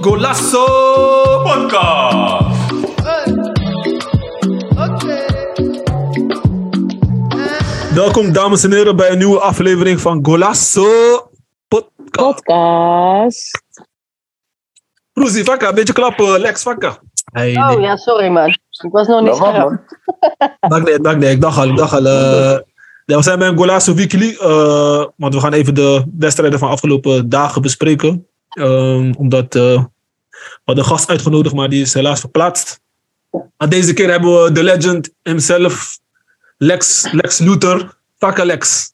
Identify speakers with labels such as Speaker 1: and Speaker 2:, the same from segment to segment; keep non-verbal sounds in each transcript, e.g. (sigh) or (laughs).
Speaker 1: Golasso Podcast. Welkom dames en heren bij een nieuwe aflevering van Golasso Podcast.
Speaker 2: Podcast.
Speaker 1: Roezie, vakka, een beetje klappen. Lex, vakka. Hey, nee.
Speaker 2: Oh ja, sorry man. Ik was nog niet
Speaker 3: Dat mag,
Speaker 2: scherp.
Speaker 3: man.
Speaker 1: Dank nee, dank nee. Ik dacht al, ik dacht al. eh, ja, we zijn bij een Golasso Weekly. eh, want we gaan even de wedstrijden van afgelopen dagen bespreken. Ehm, omdat eh, we hadden een gast uitgenodigd, maar die is helaas verplaatst. Maar deze keer hebben we de legend himself, Lex, Lex Luthor. Vakka Lex.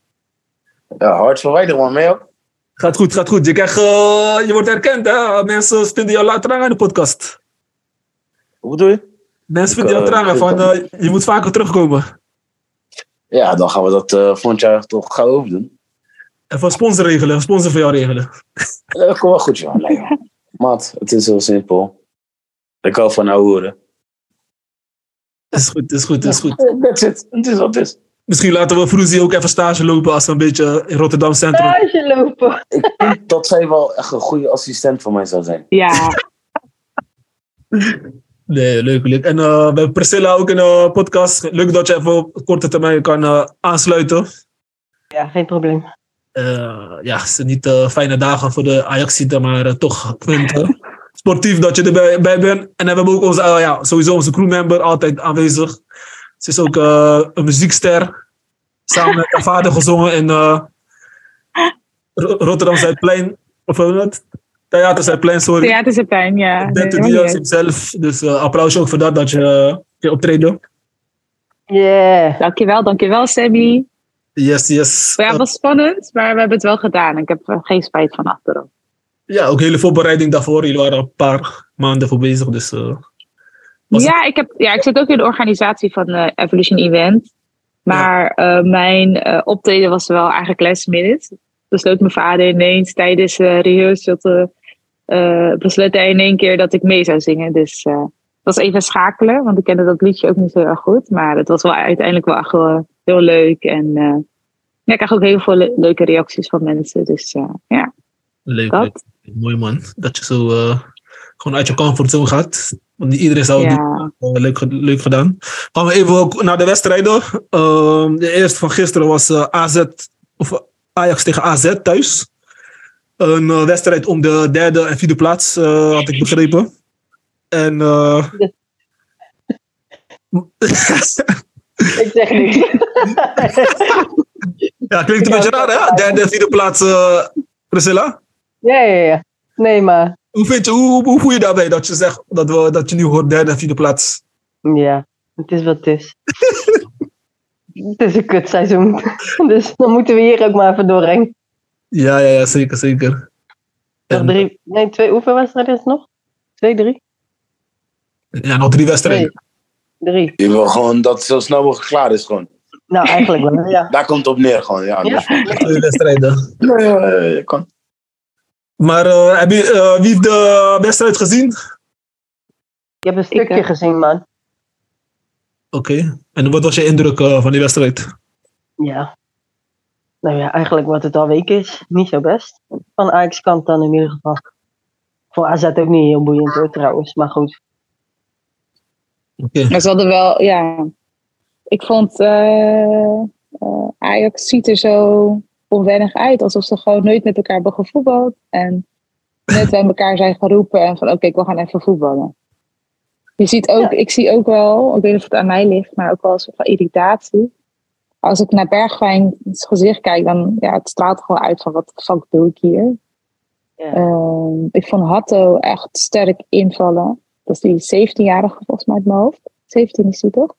Speaker 3: Ja, hard verwijderen, man. Mee, hoor.
Speaker 1: Gaat goed, gaat goed. Je, krijgt, eh, je wordt herkend, hè? Mensen vinden jou la- traag aan de podcast.
Speaker 3: Hoe bedoel je?
Speaker 1: Mensen
Speaker 3: Ik,
Speaker 1: vinden jou
Speaker 3: eh,
Speaker 1: traag aan,
Speaker 3: ik-
Speaker 1: van eh, je moet vaker terugkomen.
Speaker 3: Ja, dan gaan we dat eh volgend jaar toch gaan overdoen.
Speaker 1: Even een sponsor regelen, een sponsor voor jou regelen.
Speaker 3: Eh, Dat komt wel goed, joh. (laughs) Nee, joh. Maat, het is heel simpel. Ik hou van nou horen.
Speaker 1: Is goed, is goed, is goed.
Speaker 3: Eh, That's it. Het is wat het is.
Speaker 1: Misschien laten we Fruzi ook even stage lopen als we een beetje in Rotterdam Centrum.
Speaker 2: Stage lopen.
Speaker 3: Ik vind dat zij wel echt een goede assistent voor mij zou zijn.
Speaker 2: Ja,
Speaker 1: Nee, leuk, leuk. En eh, we hebben Priscilla ook in de podcast. Leuk dat je even op korte termijn kan eh, aansluiten.
Speaker 2: ja geen probleem.
Speaker 1: Eh, ja, het zijn niet eh, fijne dagen voor de Ajaxiden, maar eh, toch, ik vind het, eh, (laughs) sportief dat je erbij bij bent. En dan hebben we ook onze, eh, ja, sowieso onze crewmember altijd aanwezig. Ze is ook eh, een muziekster. Samen met haar vader gezongen in eh, Ro- Rotterdam Zuidplein. Of hoe heet het? Theater Zuidplein, sorry.
Speaker 4: Theater is een pijn, ja.
Speaker 1: Ik
Speaker 4: Nee,
Speaker 1: ben de
Speaker 4: maakt niet
Speaker 1: Diaz
Speaker 4: uit.
Speaker 1: himself. Dus eh, applaus ook voor dat, dat je eh, je optreden.
Speaker 2: Yeah.
Speaker 4: Dankjewel, dankjewel Sammy.
Speaker 1: Yes, yes.
Speaker 4: Maar ja,
Speaker 1: Eh,
Speaker 4: het was spannend, maar we hebben het wel gedaan. Ik heb er geen spijt van achteraf.
Speaker 1: ja, ook hele voorbereiding daarvoor. Jullie waren een paar maanden voor bezig. Dus eh, Was
Speaker 4: Ja ik, heb, ja, ik zit ook in de organisatie van eh, Evolution Event. Maar eh, mijn eh, optreden was wel eigenlijk last minute. Besloot mijn vader ineens tijdens eh rehearsal te, eh, besloot hij in één keer dat ik mee zou zingen. Dus eh, het was even schakelen, want ik kende dat liedje ook niet zo erg goed. Maar het was wel uiteindelijk wel echt wel heel leuk. En eh, ja, ik krijg ook heel veel le- leuke reacties van mensen. Dus eh, ja,
Speaker 1: leuk,
Speaker 4: dat.
Speaker 1: leuk. Mooi man. Dat je zo eh, gewoon uit je comfortzone gaat. Want niet iedereen zou het doen.
Speaker 4: Ja,
Speaker 1: Eh, leuk, ge- leuk gedaan. Gaan we even ook naar de wedstrijden. Ehm, de eerste van gisteren was eh, AZ, of eh, Ajax tegen AZ thuis. Een eh, wedstrijd om de derde en vierde plaats, eh, had ik begrepen. En. eh, (laughs)
Speaker 2: Ik zeg niks.
Speaker 1: ja, klinkt een
Speaker 2: Ja,
Speaker 1: beetje raar, hè? Derde en vierde plaats, eh, Priscilla.
Speaker 2: (laughs) Ja, ja, ja. Nee, maar.
Speaker 1: Hoe, vind je, hoe, hoe- hoe voel je daarbij dat je zegt dat, we, dat je nu hoort derde en vierde plaats?
Speaker 2: Ja, het is wat het is. het is een kutseizoen. (laughs) dus dan moeten we hier ook maar even doorheen.
Speaker 1: Ja, ja, ja zeker, zeker.
Speaker 2: Nog
Speaker 1: En-
Speaker 2: drie, nee, twee, hoeveel wedstrijden is het nog? Twee, drie?
Speaker 1: ja, nog drie wedstrijden.
Speaker 2: Drie.
Speaker 3: Je wil gewoon dat het zo snel mogelijk klaar is, gewoon.
Speaker 2: Nou, eigenlijk wel, ja.
Speaker 3: Daar komt het op neer, gewoon. Ja,
Speaker 2: Ja.
Speaker 3: dus- ja.
Speaker 1: Twee wedstrijden.
Speaker 3: ja, ja, ja, kan.
Speaker 1: Maar eh, heb je, eh, wie heeft de wedstrijd gezien? Oké.
Speaker 2: Je hebt een stukje
Speaker 4: Ik, eh,
Speaker 2: gezien, man.
Speaker 1: En wat was je indruk eh, van die wedstrijd?
Speaker 2: Ja. Nou ja, eigenlijk wat het al week is, niet zo best. Van Ajax kant dan in ieder geval. Voor AZ ook niet heel boeiend hoor trouwens, maar goed.
Speaker 1: Oké.
Speaker 4: maar ze hadden wel, ja. Ik vond eh, eh, Ajax ziet er zo onwennig uit. Alsof ze gewoon nooit met elkaar hebben gevoetbald. En net bij elkaar zijn geroepen. En van oké, we gaan even voetballen. Je ziet ook, ik zie ook wel, ik weet niet of het aan mij ligt, maar ook wel een soort van irritatie. Als ik naar Bergwijn's gezicht kijk, dan ja, het straalt gewoon uit van wat de fuck doe ik hier.
Speaker 2: Ja.
Speaker 4: Ehm, ik vond Hatto echt sterk invallen. Dat is die 17-jarige volgens mij uit mijn hoofd. 17 is die toch?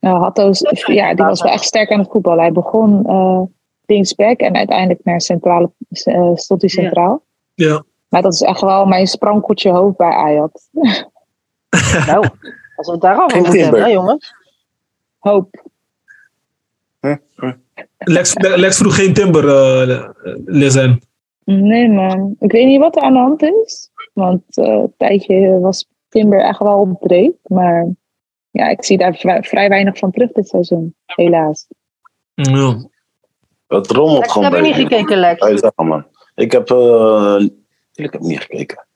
Speaker 4: Nou, Hatto is- ja, die was wel echt sterk aan het voetballen. Hij begon eh linksback en uiteindelijk naar centrale, eh, stond hij
Speaker 2: Ja.
Speaker 4: centraal.
Speaker 1: Ja.
Speaker 4: Maar dat is echt wel mijn sprankeltje hoofd bij Ajax.
Speaker 2: Nou, als we het daarover
Speaker 3: Geen
Speaker 2: moeten
Speaker 3: timber.
Speaker 2: hebben, hè, jongens.
Speaker 4: Hoop.
Speaker 1: Lex, Lex vroeg geen timber, eh Lizen.
Speaker 4: Nee, man. Ik weet niet wat er aan de hand is. Want eh, een tijdje was Timber echt wel op dreef. Maar ja, ik zie daar vri- vrij weinig van terug dit seizoen. Helaas.
Speaker 1: Ja.
Speaker 3: Het rommelt
Speaker 2: Lex,
Speaker 3: gewoon
Speaker 2: heb je
Speaker 3: bij
Speaker 2: niet gekeken, Lex?
Speaker 3: Hij zegt, man. Ik heb, eh, ik heb niet gekeken.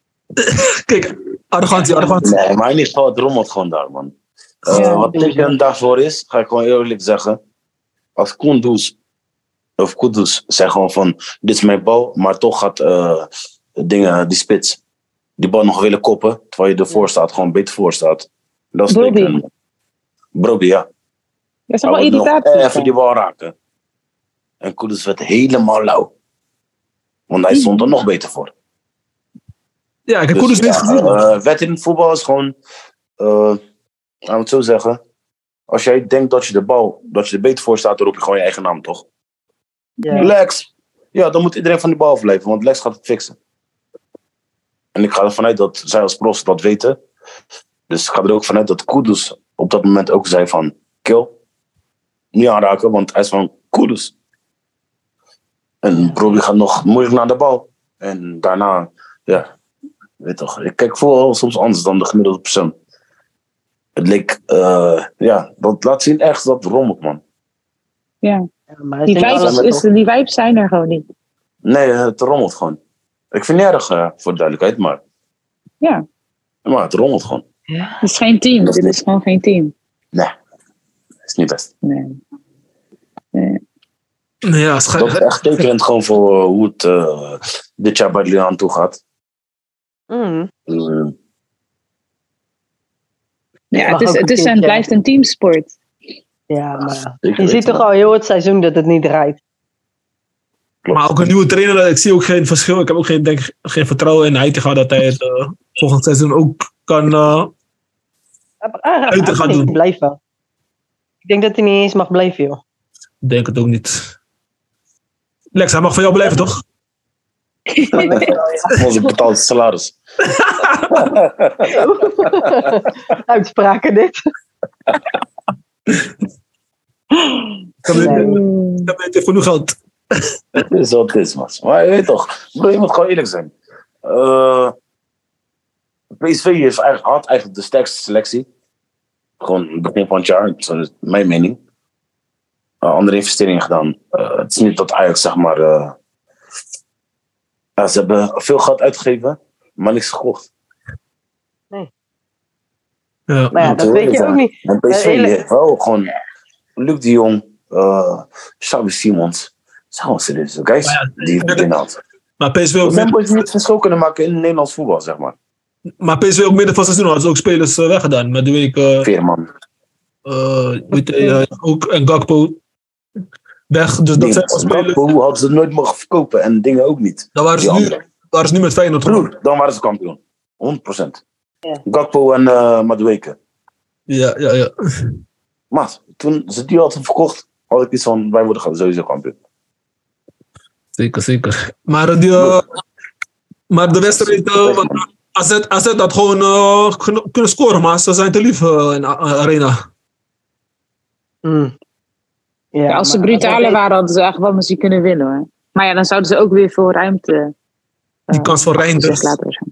Speaker 1: Kijk, arrogantie, arrogantie.
Speaker 3: Nee, maar in ieder geval, het rommelt gewoon daar, man. Eh,
Speaker 2: Ja.
Speaker 3: wat teken daarvoor is, ga ik gewoon eerlijk zeggen. Als Kunduz of Kunduz zegt gewoon van, dit is mijn bal, maar toch gaat eh, dingen, die spits, die bal nog willen koppen, terwijl je ervoor staat, gewoon beter voor staat. Dat is
Speaker 4: Brobbey.
Speaker 3: teken. Brobbey, ja.
Speaker 4: Dat is toch wel
Speaker 3: Hij wil Oh, nog
Speaker 4: irritatie.
Speaker 3: Even die bal raken. En Kunduz werd helemaal lauw. Want hij stond er nog beter voor.
Speaker 1: Ja, ik heb
Speaker 3: Dus
Speaker 1: Koeders niks
Speaker 3: ja,
Speaker 1: gezien.
Speaker 3: eh, wet in voetbal is gewoon, eh laten we het zo zeggen. Als jij denkt dat je de bal, dat je er beter voor staat, dan roep je gewoon je eigen naam, toch?
Speaker 2: Ja.
Speaker 3: Lex! Ja, dan moet iedereen van die bal afblijven, want Lex gaat het fixen. En ik ga ervan uit dat zij als pros dat weten. Dus ik ga er ook vanuit dat Kudus op dat moment ook zei van, kill, niet aanraken, want hij is van Kudus. En Broby gaat nog moeilijk naar de bal. En daarna, ja, weet toch. Ik kijk vooral soms anders dan de gemiddelde persoon. Het leek, eh, ja, dat laat zien echt dat rommelt, man.
Speaker 2: Ja, maar ik
Speaker 4: Die
Speaker 2: denk
Speaker 4: vibes,
Speaker 2: allemaal
Speaker 4: is, die vibes zijn er gewoon niet.
Speaker 3: Nee, het rommelt gewoon. Ik vind het niet erg, eh, voor de duidelijkheid, maar...
Speaker 4: Ja.
Speaker 3: Maar het rommelt gewoon.
Speaker 4: Het is geen team.
Speaker 3: Dat is
Speaker 4: Dit is gewoon geen team.
Speaker 3: Het is niet best.
Speaker 4: Nee.
Speaker 2: eh,
Speaker 1: Ja,
Speaker 3: Dat is
Speaker 1: scha-
Speaker 3: echt tekenend gewoon voor eh, hoe het eh, dit jaar bij de Liga aan toe gaat.
Speaker 2: toch- Mm.
Speaker 3: Dus, eh,
Speaker 4: Ja, het
Speaker 2: mag
Speaker 4: is,
Speaker 2: ook
Speaker 4: het
Speaker 2: een
Speaker 4: is en
Speaker 2: teamtje.
Speaker 4: blijft een teamsport.
Speaker 2: Ja, maar
Speaker 3: ik
Speaker 2: je
Speaker 3: weet
Speaker 2: ziet
Speaker 3: het
Speaker 2: toch
Speaker 3: wel.
Speaker 2: al heel het seizoen dat het niet draait.
Speaker 3: Klopt.
Speaker 1: maar ook een nieuwe trainer, eh, ik zie ook geen verschil. Ik heb ook geen, denk, ik, geen vertrouwen in Heitinga dat hij het eh, volgend seizoen ook kan. eh,
Speaker 2: Ja, maar hij gaat-
Speaker 1: Uit te gaan
Speaker 2: hij
Speaker 1: doen.
Speaker 2: Ah, blijft blijven. Ik denk dat hij niet eens mag blijven, joh. (laughs)
Speaker 1: Ik denk het ook niet. Lex, hij mag van jou blijven, toch?
Speaker 3: Onze betaalde salaris.
Speaker 2: Uitspraken dit.
Speaker 1: Ik heb,
Speaker 2: Nee.
Speaker 1: ik heb- ik heb genoeg geld.
Speaker 3: Het is wat het is, man. Maar je weet toch, bro, je moet gewoon eerlijk zijn. Eh, PSV heeft eigenlijk, had eigenlijk de sterkste selectie. Gewoon begin van het jaar, dat is mijn mening. Eh, andere investeringen gedaan. Eh, het is niet dat Ajax, zeg maar. eh, ja, ze hebben veel geld uitgegeven, maar niks gekocht.
Speaker 1: Ja.
Speaker 2: Maar ja,
Speaker 3: Moet
Speaker 2: dat
Speaker 3: je
Speaker 2: weet je
Speaker 3: eerlijk
Speaker 2: ook niet.
Speaker 3: En PSV
Speaker 2: Eh, eerlijk-
Speaker 3: heeft wel gewoon Luc de Jong, eh Xavi Simons. Zo, ze dus, guys,
Speaker 1: Maar
Speaker 3: die het erin had.
Speaker 1: Maar PSV ook
Speaker 3: Dat zijn
Speaker 1: midden,
Speaker 3: boys die het verschil kunnen maken in Nederlands voetbal, zeg maar.
Speaker 1: maar PSV ook midden van het seizoen hadden ze ook spelers eh, weggedaan. Met de week, eh
Speaker 3: Veerman.
Speaker 1: eh, weet je, eh, ook en Gakpo weg. Dus dat zijn wel spelers.
Speaker 3: Hoe hadden ze het nooit mogen verkopen en dingen ook niet.
Speaker 1: Dan waren
Speaker 3: Die
Speaker 1: ze nu,
Speaker 3: andere.
Speaker 1: waren ze nu met Feyenoord genoeg.
Speaker 3: Broer, dan waren ze kampioen. 100%.
Speaker 2: Ja.
Speaker 3: Gakpo en eh Madueke.
Speaker 1: Ja, ja, ja.
Speaker 3: Maar toen ze die hadden verkocht, had ik iets van, wij worden sowieso kampioen.
Speaker 1: Zeker, zeker. Maar, eh, die, eh, maar de wedstrijd, eh, want AZ, AZ had gewoon eh, geno- kunnen scoren, maar ze zijn te lief eh, in A- Arena.
Speaker 2: Mm. Ja,
Speaker 4: Ja, als ze
Speaker 2: maar-
Speaker 4: brutaler waren, hadden ze echt wel misschien kunnen winnen. Hoor. Maar ja, dan zouden ze ook weer veel ruimte
Speaker 1: Die
Speaker 4: Eh,
Speaker 1: kans van
Speaker 4: zich
Speaker 1: Reinders,
Speaker 4: laten gaan.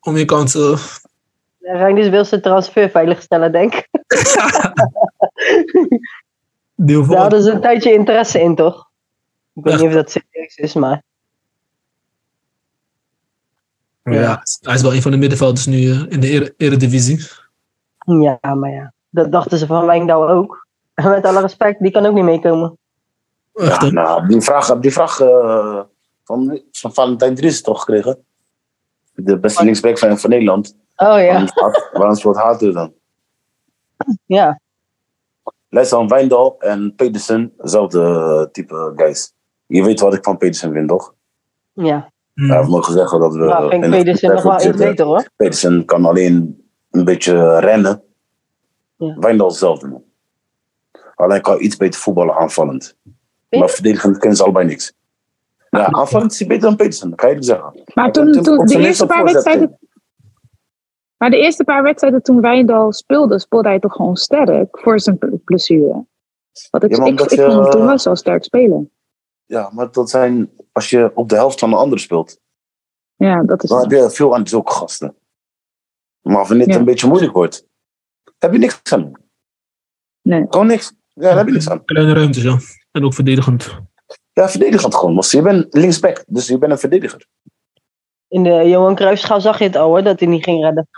Speaker 1: om je kans... eh,
Speaker 2: Ja, Reinders wil zijn transfer veiligstellen, denk ik.
Speaker 1: die hoeven-
Speaker 2: Daar hadden ze een tijdje interesse in, toch? Ik weet
Speaker 1: Echt?
Speaker 2: niet of dat serieus is, maar...
Speaker 1: Ja, hij is wel een van de middenvelders nu eh, in de ere- eredivisie.
Speaker 2: Ja, maar ja. Dat dachten ze van Wijndal ook. (laughs) En met alle respect, die kan ook niet meekomen.
Speaker 1: Echt,
Speaker 3: Ja,
Speaker 1: hè?
Speaker 3: nou, die vraag, die vraag eh, van, van Valentijn Dries toch gekregen? De beste linksback van, van Nederland.
Speaker 2: Oh ja,
Speaker 3: Waarom speelt- Waarom speelt Hato dan?
Speaker 2: ja.
Speaker 3: Les aan Wijndal en Pedersen, zelfde type guys. Je weet wat ik van Pedersen vind, toch?
Speaker 2: Ja,
Speaker 1: Mm.
Speaker 3: Hij heeft mogen zeggen dat we.
Speaker 2: nou, vind Mhm. ik
Speaker 3: in Eh, het
Speaker 2: Pedersen nog wel iets
Speaker 3: zitten.
Speaker 2: beter, hoor.
Speaker 3: Pedersen kan alleen een beetje rennen.
Speaker 2: Ja.
Speaker 3: Wijndal hetzelfde. man. Alleen kan iets beter voetballen aanvallend.
Speaker 2: je?
Speaker 3: Maar verdedigend kunnen ze allebei niks. Ja, aanvallend is hij beter dan Pedersen, dat kan je niet zeggen.
Speaker 4: Maar
Speaker 3: Hij
Speaker 4: toen,
Speaker 3: kan
Speaker 4: toen
Speaker 3: op
Speaker 4: de
Speaker 3: zijn
Speaker 4: eerste
Speaker 3: minst
Speaker 4: paar
Speaker 3: een voorzet
Speaker 4: wedstrijden. Maar de eerste paar wedstrijden toen Wijndal speelde, speelde hij toch gewoon sterk voor zijn pl- blessure. Want ik,
Speaker 3: Ja, maar
Speaker 4: ik,
Speaker 3: omdat
Speaker 4: ik
Speaker 3: je- eh,
Speaker 4: vond hem toen wel zo sterk spelen.
Speaker 3: Ja, maar dat zijn. Als je op de helft van de ander speelt,
Speaker 4: Ja, dat is.
Speaker 3: dan heb je veel aan zulke gasten. Maar wanneer het
Speaker 4: Ja.
Speaker 3: een beetje moeilijk wordt, heb je niks aan.
Speaker 4: Nee.
Speaker 3: Gewoon niks. Ja, daar heb je niks aan.
Speaker 1: Kleine ruimtes, ja. En ook verdedigend.
Speaker 3: Ja, verdedigend gewoon. Want je bent linksback, dus je bent een verdediger.
Speaker 2: In de Johan Cruijffschaal zag je het al hoor, dat hij niet ging redden.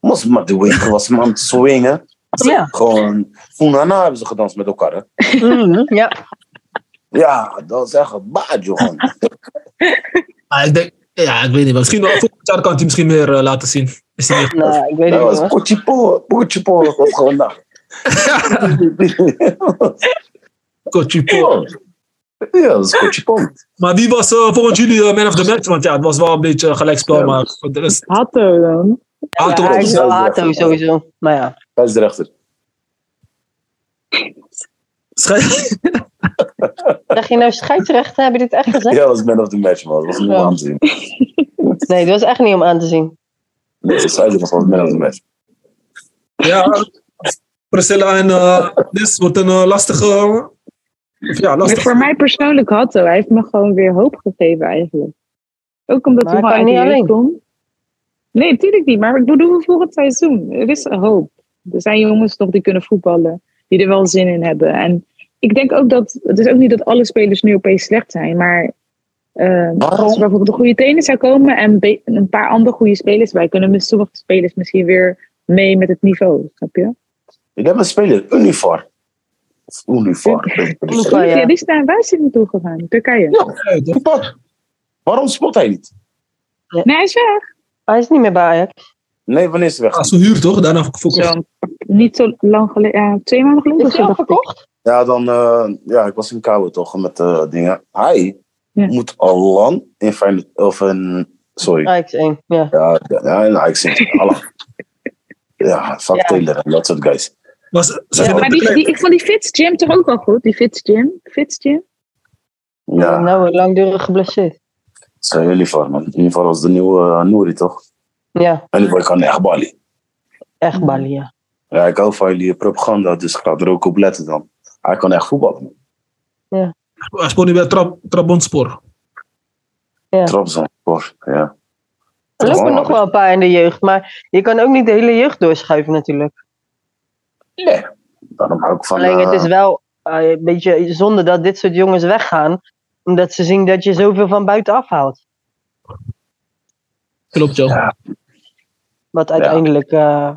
Speaker 3: Was maar de wing was man te swingen.
Speaker 2: Ja.
Speaker 3: Gewoon, Funana hebben ze gedanst met elkaar. Hè?
Speaker 2: Mhm, (laughs) ja.
Speaker 3: Ja, dat is echt een baard, joh.
Speaker 1: Ah, ik denk, ja, ik weet niet. Misschien wel- volgend jaar kan hij misschien meer eh, laten zien. Is hij niet-
Speaker 2: Nou, ik weet het
Speaker 3: Dat
Speaker 2: niet
Speaker 3: was
Speaker 2: hoor.
Speaker 3: Pochipo, Pochipo was gewoon daar. (laughs)
Speaker 1: Coachipo.
Speaker 3: Ja, dat is Pochipo.
Speaker 1: Maar wie was eh, volgens jullie eh, man of the match? Want ja, het was wel een beetje eh, gelijkspel,
Speaker 3: Ja.
Speaker 1: maar dus, voor de rest...
Speaker 4: Hatto dan.
Speaker 1: Hato
Speaker 2: Ja, ik
Speaker 1: was-
Speaker 2: wil Hato sowieso. Maar ja.
Speaker 3: Hij is de rechter.
Speaker 1: schij- (laughs)
Speaker 2: Zeg je nou scheidsrechter? Heb je dit echt gezegd?
Speaker 3: Ja, dat was man of the match, man. Dat was niet
Speaker 2: Ja.
Speaker 3: om aan te zien.
Speaker 2: Nee, dat was echt niet om aan te zien.
Speaker 3: Nee, de Zuider was gewoon man of the match.
Speaker 1: ja, Priscilla en eh Liz wordt een eh, lastige... Of ja,
Speaker 4: Maar
Speaker 1: lastige...
Speaker 4: voor mij persoonlijk Hatto. Hij heeft me gewoon weer hoop gegeven eigenlijk. Ook omdat
Speaker 2: Maar
Speaker 4: hij
Speaker 2: hij kan
Speaker 4: wel uit
Speaker 2: niet
Speaker 4: die jeugd
Speaker 2: alleen.
Speaker 4: komt. Nee, natuurlijk niet. Maar ik bedoel volgend seizoen. Er is hoop. Er zijn jongens nog die kunnen voetballen. Die er wel zin in hebben. En ik denk ook dat... Het is ook niet dat alle spelers nu opeens slecht zijn. Maar eh, als er bijvoorbeeld een goede trainer zou komen... en be- een paar andere goede spelers bij... kunnen mis- sommige spelers misschien weer mee met het niveau. Snap je?
Speaker 3: Ik heb een speler, Univar. Of Univar. ik weet niet.
Speaker 2: Ja, Oh ja.
Speaker 4: Ja, die is naar waar is hij naartoe gegaan? Turkije.
Speaker 1: Ja, toch?
Speaker 3: Spot. Waarom spot hij niet?
Speaker 4: Nee, hij is weg.
Speaker 2: Hij is niet meer bij Ajax.
Speaker 3: Nee, wanneer is hij weg?
Speaker 1: Ja, zo huur toch? Daarna verkocht.
Speaker 4: Zo, niet zo lang geleden, ja, twee maanden geleden. of
Speaker 2: Is
Speaker 4: zo,
Speaker 2: hij al
Speaker 4: dacht ik.
Speaker 2: verkocht?
Speaker 3: Ja, dan... eh, ja, ik was in Kouwe toch, met eh, dingen. Hij
Speaker 4: Ja.
Speaker 3: moet al lang in Feyenoord... Of in... Sorry.
Speaker 2: Ajax 1, ja.
Speaker 3: Ja, ja, ja, nou, ik zit al lang. Ja, Van
Speaker 2: Ja.
Speaker 3: Taylor en dat soort guys.
Speaker 1: Was, ze
Speaker 3: Ja,
Speaker 1: vinden
Speaker 4: Maar
Speaker 1: het
Speaker 4: die,
Speaker 1: klein.
Speaker 4: die, ik vond die Fitz Jim toch ook wel goed? Die Fitz Jim? Fitz (laughs) Jim?
Speaker 3: Ja,
Speaker 2: Nou, langdurig geblesseerd.
Speaker 3: dat zijn jullie voor, man. In ieder geval was de nieuwe eh, Nouri, toch?
Speaker 2: Ja,
Speaker 3: En ik kan echt balie.
Speaker 2: echt balie, ja.
Speaker 3: Ja, ik hou van jullie propaganda, dus ik ga er ook op letten dan. Hij kan echt voetballen, man.
Speaker 1: Hij speelt nu bij Trab Trabantspor.
Speaker 2: Ja.
Speaker 3: Trabzon, hoor. Ja.
Speaker 2: Er lopen
Speaker 3: Gewoon,
Speaker 2: nog wel een paar in de jeugd, maar je kan ook niet de hele jeugd doorschuiven natuurlijk.
Speaker 3: Nee. Daarom hou ik van...
Speaker 2: Alleen het
Speaker 3: eh,
Speaker 2: is wel eh, een beetje zonde dat dit soort jongens weggaan, omdat ze zien dat je zoveel van buiten afhaalt.
Speaker 1: Klopt, joh.
Speaker 3: Ja.
Speaker 2: Wat uiteindelijk, eh,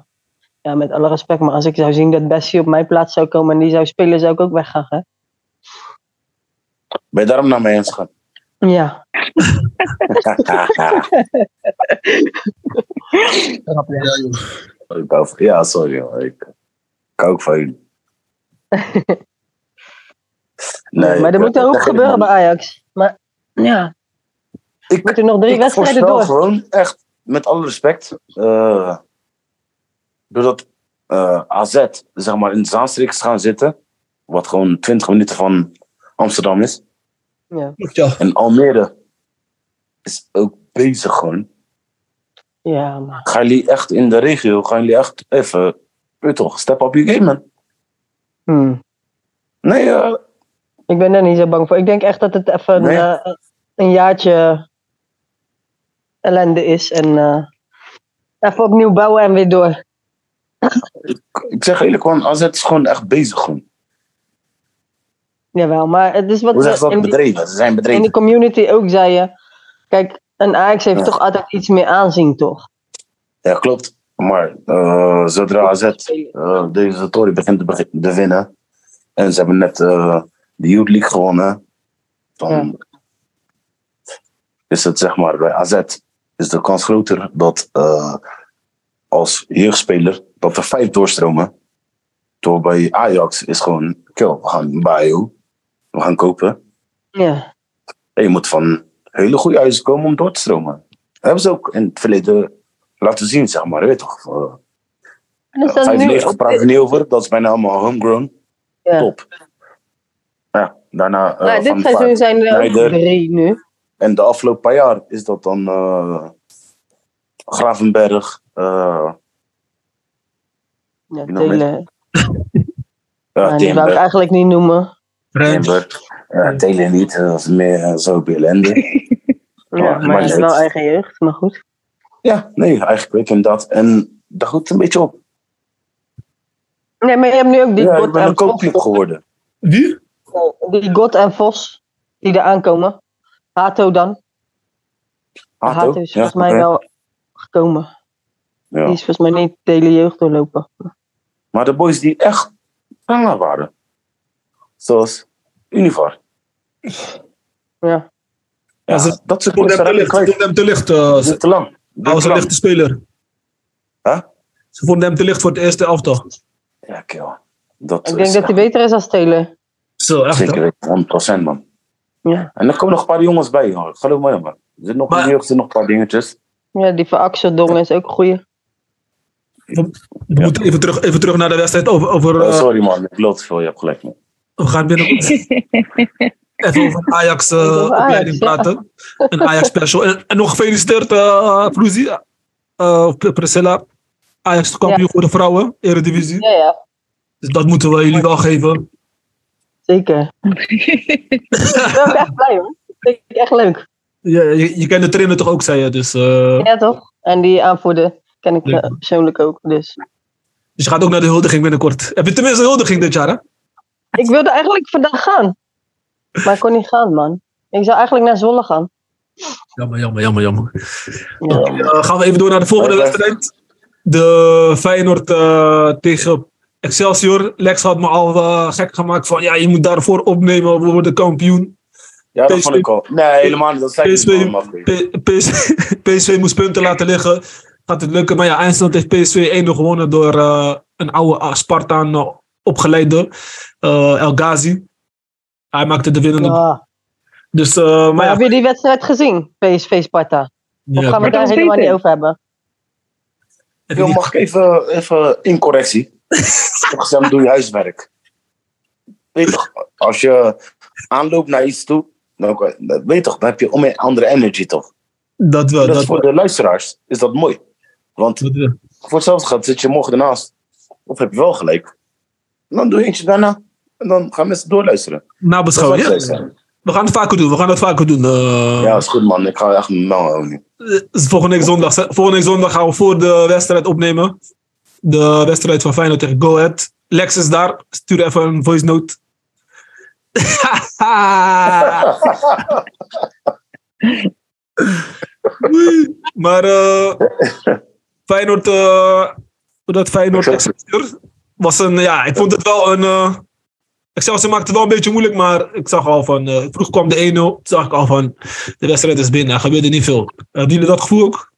Speaker 2: ja, met alle respect, maar als ik zou zien dat Bessie op mijn plaats zou komen en die zou spelen, zou ik ook weggaan. Hè?
Speaker 3: Ben je daarom naar mij eens gaan?
Speaker 2: Ja.
Speaker 3: (laughs) ik hou van- ja, sorry, man. Ik, ik hou ook van
Speaker 2: (laughs)
Speaker 3: jullie. Nee,
Speaker 2: maar er
Speaker 3: ik-
Speaker 2: moet er ook
Speaker 3: echt niet,
Speaker 2: gebeuren bij
Speaker 3: man.
Speaker 2: Ajax. Maar ja,
Speaker 3: Ik,
Speaker 2: moeten nog drie
Speaker 3: ik
Speaker 2: wedstrijden
Speaker 3: voorspel
Speaker 2: door.
Speaker 3: gewoon echt, met alle respect, eh, doordat eh, AZ zeg maar in Zaanstreek is gaan zitten, wat gewoon 20 minuten van Amsterdam is,
Speaker 2: Ja.
Speaker 1: Klopt, ja.
Speaker 3: en Almere is ook bezig gewoon.
Speaker 2: ja, maar
Speaker 3: Gaan jullie echt in de regio, gaan jullie echt even, weet je toch, step up your game man.
Speaker 2: hmm.
Speaker 3: Nee, eh,
Speaker 2: ik ben daar niet zo bang voor. Ik denk echt dat het even
Speaker 3: Nee.
Speaker 2: eh, een jaartje ellende is. En eh, even opnieuw bouwen en weer door.
Speaker 3: ik zeg eerlijk gewoon, AZ is gewoon echt bezig gewoon.
Speaker 2: Jawel, maar het is
Speaker 3: Hoe
Speaker 2: wat
Speaker 3: zeggen ze
Speaker 2: we
Speaker 3: dat?
Speaker 2: in die,
Speaker 3: Bedreven, ze zijn
Speaker 2: in die
Speaker 3: bedreven.
Speaker 2: community ook zeiden. Kijk, een Ajax heeft
Speaker 3: Ja.
Speaker 2: toch altijd iets meer aanzien, toch?
Speaker 3: Ja, klopt. Maar eh, zodra AZ Eh, deze Tory begint te, beg- te winnen. En ze hebben net eh, de Youth League gewonnen. Dan is het zeg maar bij AZ is de kans groter dat eh, als jeugdspeler dat er vijf doorstromen. Door bij Ajax is gewoon kill. We gaan bio, we gaan kopen.
Speaker 2: Ja,
Speaker 3: En je moet van hele goede huizen komen om door te stromen. Dat hebben ze ook in het verleden laten zien, zeg maar. Weet je toch? Eh,
Speaker 2: en dan staan we nu
Speaker 3: 95
Speaker 2: op
Speaker 3: praten we
Speaker 2: de-
Speaker 3: niet over. Dat is bijna allemaal homegrown.
Speaker 2: Ja.
Speaker 3: Top. Ja, daarna eh,
Speaker 2: Nou,
Speaker 3: van
Speaker 2: dit
Speaker 3: de
Speaker 2: seizoen
Speaker 3: Vaart.
Speaker 2: zijn er ook
Speaker 3: Leider.
Speaker 2: drie nu.
Speaker 3: En de afgelopen paar jaar is dat dan eh, Gravenberg, eh
Speaker 2: Ja,
Speaker 3: Wie nog meer?
Speaker 2: Telen.
Speaker 3: ja,
Speaker 2: Maar die wou ik
Speaker 3: Timber,
Speaker 2: eigenlijk niet noemen.
Speaker 1: Rens.
Speaker 3: Timber. Ja, Telen niet, dat is meer eh, zo
Speaker 1: (laughs)
Speaker 3: bij ellende.
Speaker 2: Ja,
Speaker 3: Ja,
Speaker 2: maar
Speaker 3: maar
Speaker 2: het is
Speaker 3: het-
Speaker 2: wel eigen jeugd, maar goed.
Speaker 3: ja, nee, eigenlijk weet je dat. En daar goed een beetje op.
Speaker 2: Nee, maar je hebt nu ook die
Speaker 3: Ja, ik
Speaker 2: bot
Speaker 3: ben
Speaker 2: aan
Speaker 3: een koopclub
Speaker 2: Trotskop.
Speaker 3: geworden.
Speaker 1: Wie?
Speaker 2: Eh, die God en Vos die er aankomen. Hato dan. Hato, is dus volgens mij
Speaker 3: oké.
Speaker 2: wel gekomen.
Speaker 3: Ja.
Speaker 2: Die is volgens mij niet de hele jeugd doorlopen.
Speaker 3: Maar de boys die echt prima waren. Zoals Univar.
Speaker 2: Ja.
Speaker 3: Ja,
Speaker 1: Ja, ze-
Speaker 3: dat soort
Speaker 1: Ik
Speaker 3: boys
Speaker 1: vond hem
Speaker 3: zijn
Speaker 1: te
Speaker 3: eigenlijk
Speaker 1: licht. Ze
Speaker 3: kwijt.
Speaker 1: vonden hem te licht. eh,
Speaker 3: Dit
Speaker 1: ze-
Speaker 3: te lang. Dit
Speaker 1: Hij was
Speaker 3: te
Speaker 1: een
Speaker 3: lang.
Speaker 1: lichte speler.
Speaker 3: Huh?
Speaker 1: Ze vonden hem te licht voor het eerste elftal.
Speaker 3: Ja, kill. Dat
Speaker 2: Ik denk
Speaker 3: is
Speaker 2: dat hij
Speaker 3: echt-
Speaker 2: beter is als Taylor.
Speaker 1: Zo, echt. hè?
Speaker 3: Zeker weten, 100% man.
Speaker 2: Ja.
Speaker 3: En er komen nog een paar jongens bij, hoor. geloof me man. Er zitten nog,
Speaker 1: Maar-
Speaker 3: in de jeugd zitten nog een paar dingetjes.
Speaker 2: ja, die van Axel Dongen is ook een goeie.
Speaker 1: We moeten even terug, even terug naar de wedstrijd. Over, over,
Speaker 3: Oh,
Speaker 1: eh,
Speaker 3: sorry man, ik loop te veel, je hebt gelijk. Man.
Speaker 1: we gaan
Speaker 2: (laughs)
Speaker 1: binnenkort even over Ajax eh,
Speaker 2: Over Ajax,
Speaker 1: opleiding
Speaker 2: ja.
Speaker 1: praten. Een Ajax special. En, en nog gefeliciteerd, eh Vloezie. eh, Pr- Priscilla. Ajax de kampioen voor de vrouwen, Eredivisie.
Speaker 2: Ja, ja.
Speaker 1: Dus dat moeten we jullie wel geven.
Speaker 2: Zeker. ik ben ook echt blij hoor. Dat vind ik echt leuk.
Speaker 1: Ja, je, je kent de trainer toch ook, zei je. Dus, eh,
Speaker 2: Ja, toch? En die aanvoerder ken ik
Speaker 1: Leuk.
Speaker 2: eh, persoonlijk ook. Dus.
Speaker 1: dus je gaat ook naar de huldiging binnenkort. Heb je tenminste een huldiging dit jaar, hè?
Speaker 2: Ik wilde eigenlijk vandaag gaan. Maar ik kon niet gaan, man. Ik zou eigenlijk naar Zwolle gaan.
Speaker 1: Jammer, jammer, jammer, jammer.
Speaker 2: Ja.
Speaker 1: Eh, gaan we even door naar de volgende
Speaker 3: Oké.
Speaker 1: wedstrijd. De Feyenoord eh, tegen Excelsior. Lex had me al eh, gek gemaakt van ja, je moet daarvoor opnemen, we worden kampioen.
Speaker 3: Ja, dat
Speaker 1: PSV
Speaker 3: vond ik al. Nee, helemaal niet. Dat zei ik
Speaker 1: PSV
Speaker 3: niet. man, man.
Speaker 1: (laughs) P- PS PSV moest punten laten liggen. Gaat het lukken? Maar ja, eindstand heeft PSV 1-0 gewonnen door eh, een oude eh, Spartaan eh, opgeleide, eh, El Ghazi. Hij maakte de winnende.
Speaker 2: Ah.
Speaker 1: Dus, eh,
Speaker 2: Maar
Speaker 1: maar ja,
Speaker 2: hebben jullie die wedstrijd gezien? PSV Sparta. Of
Speaker 1: ja,
Speaker 2: gaan we
Speaker 1: maar-
Speaker 4: dat
Speaker 2: daar
Speaker 4: is
Speaker 2: helemaal
Speaker 4: beter.
Speaker 2: niet over hebben?
Speaker 1: even
Speaker 3: Yo,
Speaker 1: niet-
Speaker 3: mag ik even, even incorrectie?
Speaker 1: (laughs)
Speaker 3: Ik heb gezegd, doe je huiswerk. Weet je toch, als je aanloopt naar iets toe, dan, weet je toch, dan heb je om een andere energy toch.
Speaker 1: dat wel.
Speaker 3: Dat,
Speaker 1: Dat
Speaker 3: is voor
Speaker 1: wel,
Speaker 3: de luisteraars is dat mooi. Want
Speaker 1: dat wel.
Speaker 3: voor hetzelfde geld zit je morgen ernaast. Of heb je wel gelijk. En dan doe je eentje daarna. En dan gaan mensen doorluisteren. Dat zou
Speaker 1: Nabeschouwing.
Speaker 3: ik
Speaker 1: ja.
Speaker 3: zeggen.
Speaker 1: We gaan het vaker doen. We gaan het vaker doen. eh.
Speaker 3: Ja, is goed man. Ik ga echt mijn melden ook niet.
Speaker 1: Dus volgende week zondag. Volgende week zondag gaan we voor de wedstrijd opnemen. De wedstrijd van Feyenoord tegen Go Ahead. Lex is daar. Stuur even een voice note. (laughs) Oei. maar eh Feyenoord, eh, dat Feyenoord Excelsior was een, ja, ik vond het wel een, eh Excelsior maakte het wel een beetje moeilijk, maar ik zag al van, eh, vroeg kwam de 1-0, toen zag ik al van, de wedstrijd is binnen, er gebeurde niet veel. Hebben jullie dat gevoel ook?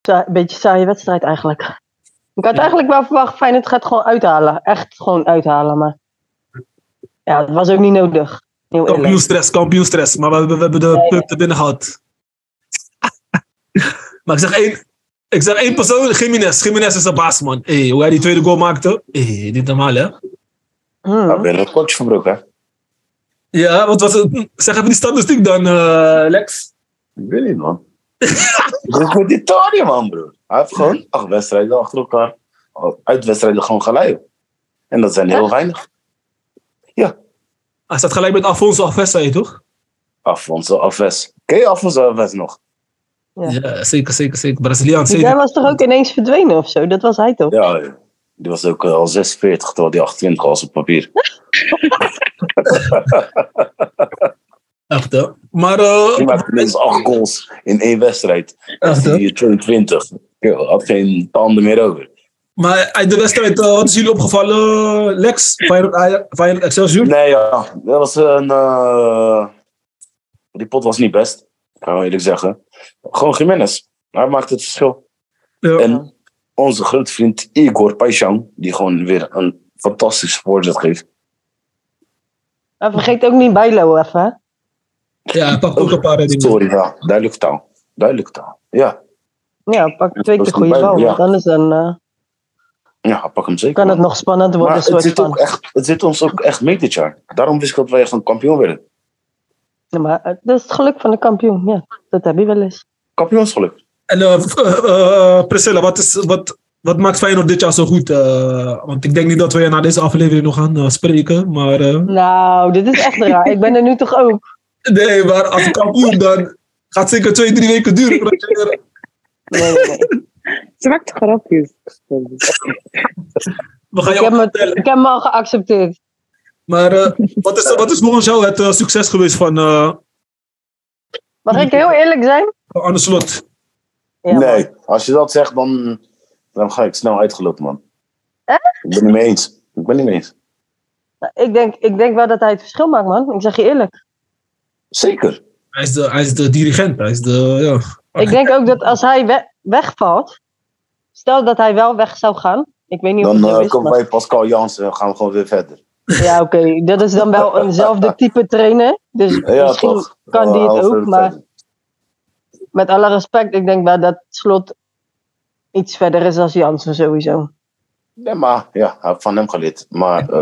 Speaker 2: Een beetje saaie wedstrijd eigenlijk. Ik had eigenlijk wel verwacht, Feyenoord gaat gewoon uithalen. Echt gewoon uithalen, maar... Ja, het was ook niet nodig. Heel eerlijk.
Speaker 1: Kampioenstress, kampioenstress. Maar we, hebben- we hebben de punten binnen gehad. (laughs) maar ik zeg één, ik zeg één persoon, Jiménez. Jiménez is de baas, man. Hey, hoe hij die tweede goal maakte. Hey, niet normaal, hè?
Speaker 3: Daar
Speaker 2: Hmm.
Speaker 3: ben je een kwartje verbroken, hè?
Speaker 1: Ja, wat was het? Zeg even die statistiek dan, eh, Lex.
Speaker 3: Ik weet niet, man. Repetitie, man, broer. Hij heeft gewoon acht wedstrijden achter elkaar. Uitwedstrijden gewoon gelijk. En dat zijn heel weinig.
Speaker 1: Hij staat gelijk met Alfonso Alves, zei je toch?
Speaker 3: Afonso Alves. Ken je Afonso Alves nog?
Speaker 2: Ja.
Speaker 1: zeker, zeker, zeker. Braziliaan,
Speaker 2: Die
Speaker 1: zeker.
Speaker 2: guy Dus was toch ook ineens verdwenen of zo? Dat was hij toch?
Speaker 3: Ja, ja. die was ook eh, al 46, terwijl die 28 was op papier.
Speaker 1: Echt, hè? Maar, eh,
Speaker 3: Die maakte minstens acht goals in één wedstrijd.
Speaker 1: echt, hè?
Speaker 3: Die 22. Kerel, had geen tanden meer over.
Speaker 1: Maar uit de wedstrijd, eh, wat is jullie opgevallen, Lex? Feyenoord, Ajax- Feyenoord Excelsior?
Speaker 3: Nee, ja, dat was een. eh, Die pot was niet best, kan ik eerlijk zeggen. Gewoon Jiménez. Hij maakt het verschil.
Speaker 1: Ja.
Speaker 3: En onze grote vriend Igor Paishan, die gewoon weer een fantastische voorzet geeft.
Speaker 2: En vergeet ook niet Bijlo even, hè?
Speaker 1: Ja, hij pakt ook een paar reddingen.
Speaker 3: Sorry, ja, duidelijke taal. Duidelijke taal. Ja,
Speaker 2: Ja, pak twee
Speaker 3: was
Speaker 2: keer goede
Speaker 3: niet Bijlo,
Speaker 2: bal.
Speaker 3: ja.
Speaker 2: want Anders dan, eh,
Speaker 3: ja pak hem zeker.
Speaker 2: kan het
Speaker 3: man.
Speaker 2: nog spannend worden.
Speaker 3: maar het
Speaker 2: soort
Speaker 3: zit,
Speaker 2: van.
Speaker 3: ook echt, het zit ons ook echt mee dit jaar. Daarom wist ik dat wij gewoon kampioen werden.
Speaker 2: Ja, maar het- dat is het geluk van de kampioen. Ja, dat heb je wel eens.
Speaker 3: Kampioensgeluk.
Speaker 1: En eh, v- eh, eh, Priscilla, wat, is, wat, wat maakt Feyenoord dit jaar zo goed? Eh, want ik denk niet dat we je na deze aflevering nog gaan eh, spreken. Maar, eh,
Speaker 2: Nou, dit is echt raar. Ik ben er nu toch ook.
Speaker 1: nee, maar als kampioen dan gaat het zeker twee, drie weken duren. voordat je weer-
Speaker 3: (laughs)
Speaker 2: Nee, nee, nee.
Speaker 4: Zwakte grapjes.
Speaker 1: We gaan
Speaker 2: Ik
Speaker 1: jou
Speaker 2: heb, me,
Speaker 1: vertellen.
Speaker 2: ik heb me al geaccepteerd.
Speaker 1: Maar eh, wat, is, wat is volgens jou het eh, succes geweest van eh
Speaker 2: Mag ik heel eerlijk zijn?
Speaker 1: Anne Slot?
Speaker 2: Ja,
Speaker 3: nee,
Speaker 2: man.
Speaker 3: als je dat zegt, dan, dan ga ik snel uitgelopen, man. Ik ben niet mee eens. Ik ben niet mee eens.
Speaker 2: Ik denk, ik denk wel dat hij het verschil maakt, man. Ik zeg je eerlijk.
Speaker 3: Zeker.
Speaker 1: Hij is, de, hij is de dirigent, hij is de... Ja.
Speaker 2: Ik denk ook dat als hij we- wegvalt, stel dat hij wel weg zou gaan. Ik weet niet of
Speaker 3: Dan
Speaker 2: het zo
Speaker 3: eh
Speaker 2: is,
Speaker 3: komen
Speaker 2: maar-
Speaker 3: wij Pascal Jansen en gaan we gewoon weer verder.
Speaker 2: Ja, oké. Dat is dan
Speaker 3: (laughs)
Speaker 2: wel eenzelfde type trainer. Dus
Speaker 3: Ja,
Speaker 2: misschien
Speaker 3: toch. Eh,
Speaker 2: kan die
Speaker 3: Dan
Speaker 2: het
Speaker 3: gaan we
Speaker 2: ook.
Speaker 3: verder
Speaker 2: Maar
Speaker 3: verder.
Speaker 2: met alle respect, ik denk wel dat slot iets verder is dan Jansen sowieso.
Speaker 3: Nee, maar ja, ik heb van hem geleerd.
Speaker 2: (laughs)
Speaker 3: Maar eh,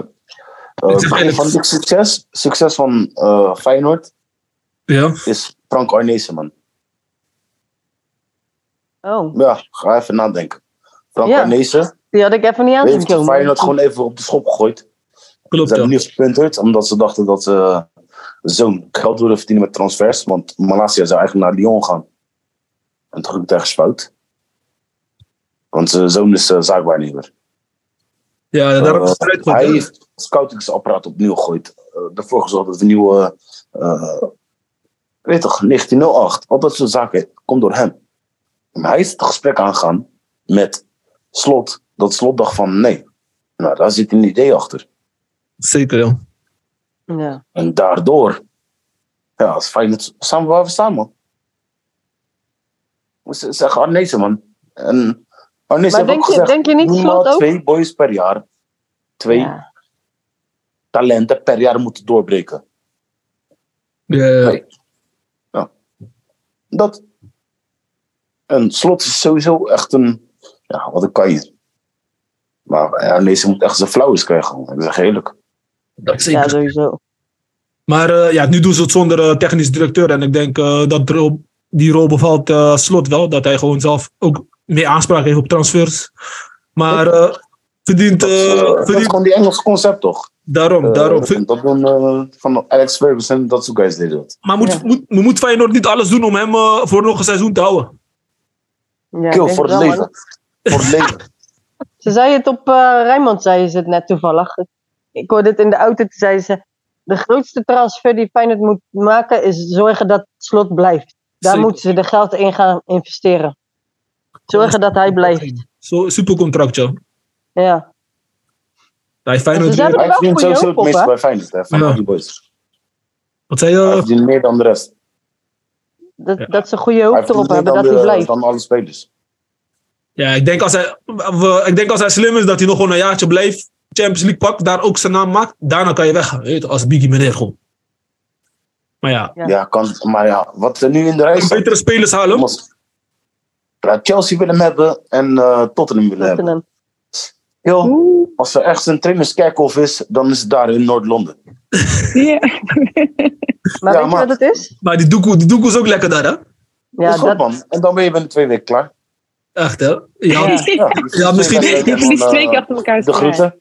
Speaker 3: eh,
Speaker 1: Ik zeg eerlijk.
Speaker 3: van het succes, succes van eh, Feyenoord
Speaker 1: Ja.
Speaker 3: is Frank Arnezen, man.
Speaker 2: Oh,
Speaker 3: Ja, ga even nadenken. Frank
Speaker 2: Ja.
Speaker 3: Arnezen
Speaker 2: die had ik even niet aan zien
Speaker 3: heeft
Speaker 2: komen.
Speaker 3: Feyenoord gewoon even op de schop gegooid.
Speaker 1: Klopt,
Speaker 3: Ze
Speaker 1: ja.
Speaker 3: hebben niet gepunterd, omdat ze dachten dat ze zo'n geld wilden verdienen met transfers. Want Malasia zou eigenlijk naar Lyon gaan. En toen ging het ergens fout. Want zijn zoon is uh, zaakwaarnemer.
Speaker 1: Ja, daarom is het
Speaker 3: Eh,
Speaker 1: eruit
Speaker 3: hij
Speaker 1: gegooid, hè.
Speaker 3: heeft het scoutingsapparaat opnieuw gegooid. Eh, daarvoor gezorgd dat we een nieuwe... eh, ik weet toch, 1908. Al dat soort zaken komt door hem. Maar hij is het gesprek aangegaan met Slot. Dat Slot dacht van nee. Nou, daar zit een idee achter.
Speaker 1: Zeker, ja.
Speaker 2: Ja.
Speaker 3: En daardoor, ja, als Feyenoord staan we waar we staan, man. We z- zeggen Arnezen, man. En Arnezen
Speaker 2: Maar
Speaker 3: heeft
Speaker 2: denk
Speaker 3: ook
Speaker 2: je,
Speaker 3: gezegd,
Speaker 2: denk je niet
Speaker 3: minimaal
Speaker 2: slot ook?
Speaker 3: twee boys per jaar, twee
Speaker 2: Ja.
Speaker 3: talenten per jaar moeten doorbreken.
Speaker 1: Ja, ja, ja.
Speaker 3: Nee. Dat. En Slot is sowieso echt een, ja, wat een kanje. Maar eh, Arnezen moet echt zijn flauwes krijgen, man. ik zeg eerlijk.
Speaker 1: Dat zeker.
Speaker 2: ja, sowieso.
Speaker 1: Maar eh, ja, nu doen ze het zonder eh, technisch directeur. En ik denk eh, dat Ro- die rol bevalt eh, Slot wel. Dat hij gewoon zelf ook meer aanspraak heeft op transfers. Maar eh, verdient...
Speaker 3: Dat, is,
Speaker 1: eh,
Speaker 3: eh, dat is
Speaker 1: verdient
Speaker 3: gewoon die Engelse concept, toch?
Speaker 1: daarom, daarom.
Speaker 3: Eh, dat doen eh, van Alex Ferguson, dat soort guys deden dat.
Speaker 1: Maar moet,
Speaker 2: Ja.
Speaker 1: moet, moet Feyenoord niet alles doen om hem eh, voor nog een seizoen te houden?
Speaker 2: Ja, ik
Speaker 3: Kill,
Speaker 2: denk
Speaker 3: voor het
Speaker 2: wel,
Speaker 3: leven.
Speaker 2: man.
Speaker 3: (laughs) Voor het
Speaker 2: (laughs)
Speaker 3: leven.
Speaker 2: Ze zei het op eh Rijnmond, zei ze het net toevallig. Ik- Ik hoorde het in de auto, toen zei ze... De grootste transfer die Feyenoord moet maken is zorgen dat slot blijft. Daar
Speaker 1: Zeker.
Speaker 2: moeten ze de geld in gaan investeren. Zorgen dat hij blijft.
Speaker 1: Zo, supercontract, ja.
Speaker 2: Ja.
Speaker 1: Hij Feyenoord...
Speaker 2: Ze hebben-
Speaker 3: Hij
Speaker 2: wel
Speaker 3: verdient
Speaker 2: goede
Speaker 3: sowieso
Speaker 2: hoop
Speaker 3: het
Speaker 2: op, hè?
Speaker 3: meeste bij Feyenoord, hè, van
Speaker 1: Ja.
Speaker 3: al die boys.
Speaker 1: Wat zei
Speaker 3: Hij
Speaker 1: je?
Speaker 3: verdient meer dan de rest.
Speaker 2: Dat,
Speaker 1: Ja.
Speaker 2: dat ze goede
Speaker 3: Hij
Speaker 2: hoop
Speaker 3: verdient
Speaker 2: erop
Speaker 3: meer
Speaker 2: hebben
Speaker 3: dan,
Speaker 2: dat hij
Speaker 3: de,
Speaker 2: blijft.
Speaker 3: dan alle spelers.
Speaker 1: Ja, ik denk, als hij, we- ik denk als hij slim is dat hij nog gewoon een jaartje blijft. Champions League pakt, daar ook zijn naam maakt. Daarna kan je weggaan. Weet, je toch, als Biggie meneer gewoon. Maar ja,
Speaker 2: Ja.
Speaker 3: Ja. kan, maar ja, wat er nu in de rij
Speaker 1: een
Speaker 3: staat.
Speaker 1: betere spelers halen.
Speaker 3: jongens. Ja, Chelsea willen hem hebben en eh, Tottenham willen hebben.
Speaker 2: Tottenham.
Speaker 3: Yo, als er echt een trainerskerkhof is, dan is het daar in Noord-Londen.
Speaker 4: Ja. (laughs)
Speaker 2: Maar
Speaker 3: Ja,
Speaker 2: weet
Speaker 3: maar-
Speaker 2: je wat het is?
Speaker 1: Maar die doekoe, die doekoe is ook lekker daar, hè?
Speaker 2: Ja,
Speaker 3: is goed,
Speaker 2: dat,
Speaker 3: man. En dan ben je binnen twee weken klaar.
Speaker 1: Echt, hè? Ja,
Speaker 2: Ja.
Speaker 3: Ja, dus
Speaker 1: Ja,
Speaker 3: twee
Speaker 1: (laughs) misschien-
Speaker 3: wedstrijden
Speaker 4: Je
Speaker 3: en dan,
Speaker 4: verliest twee
Speaker 3: eh,
Speaker 4: keer achter elkaar.
Speaker 3: De groeten.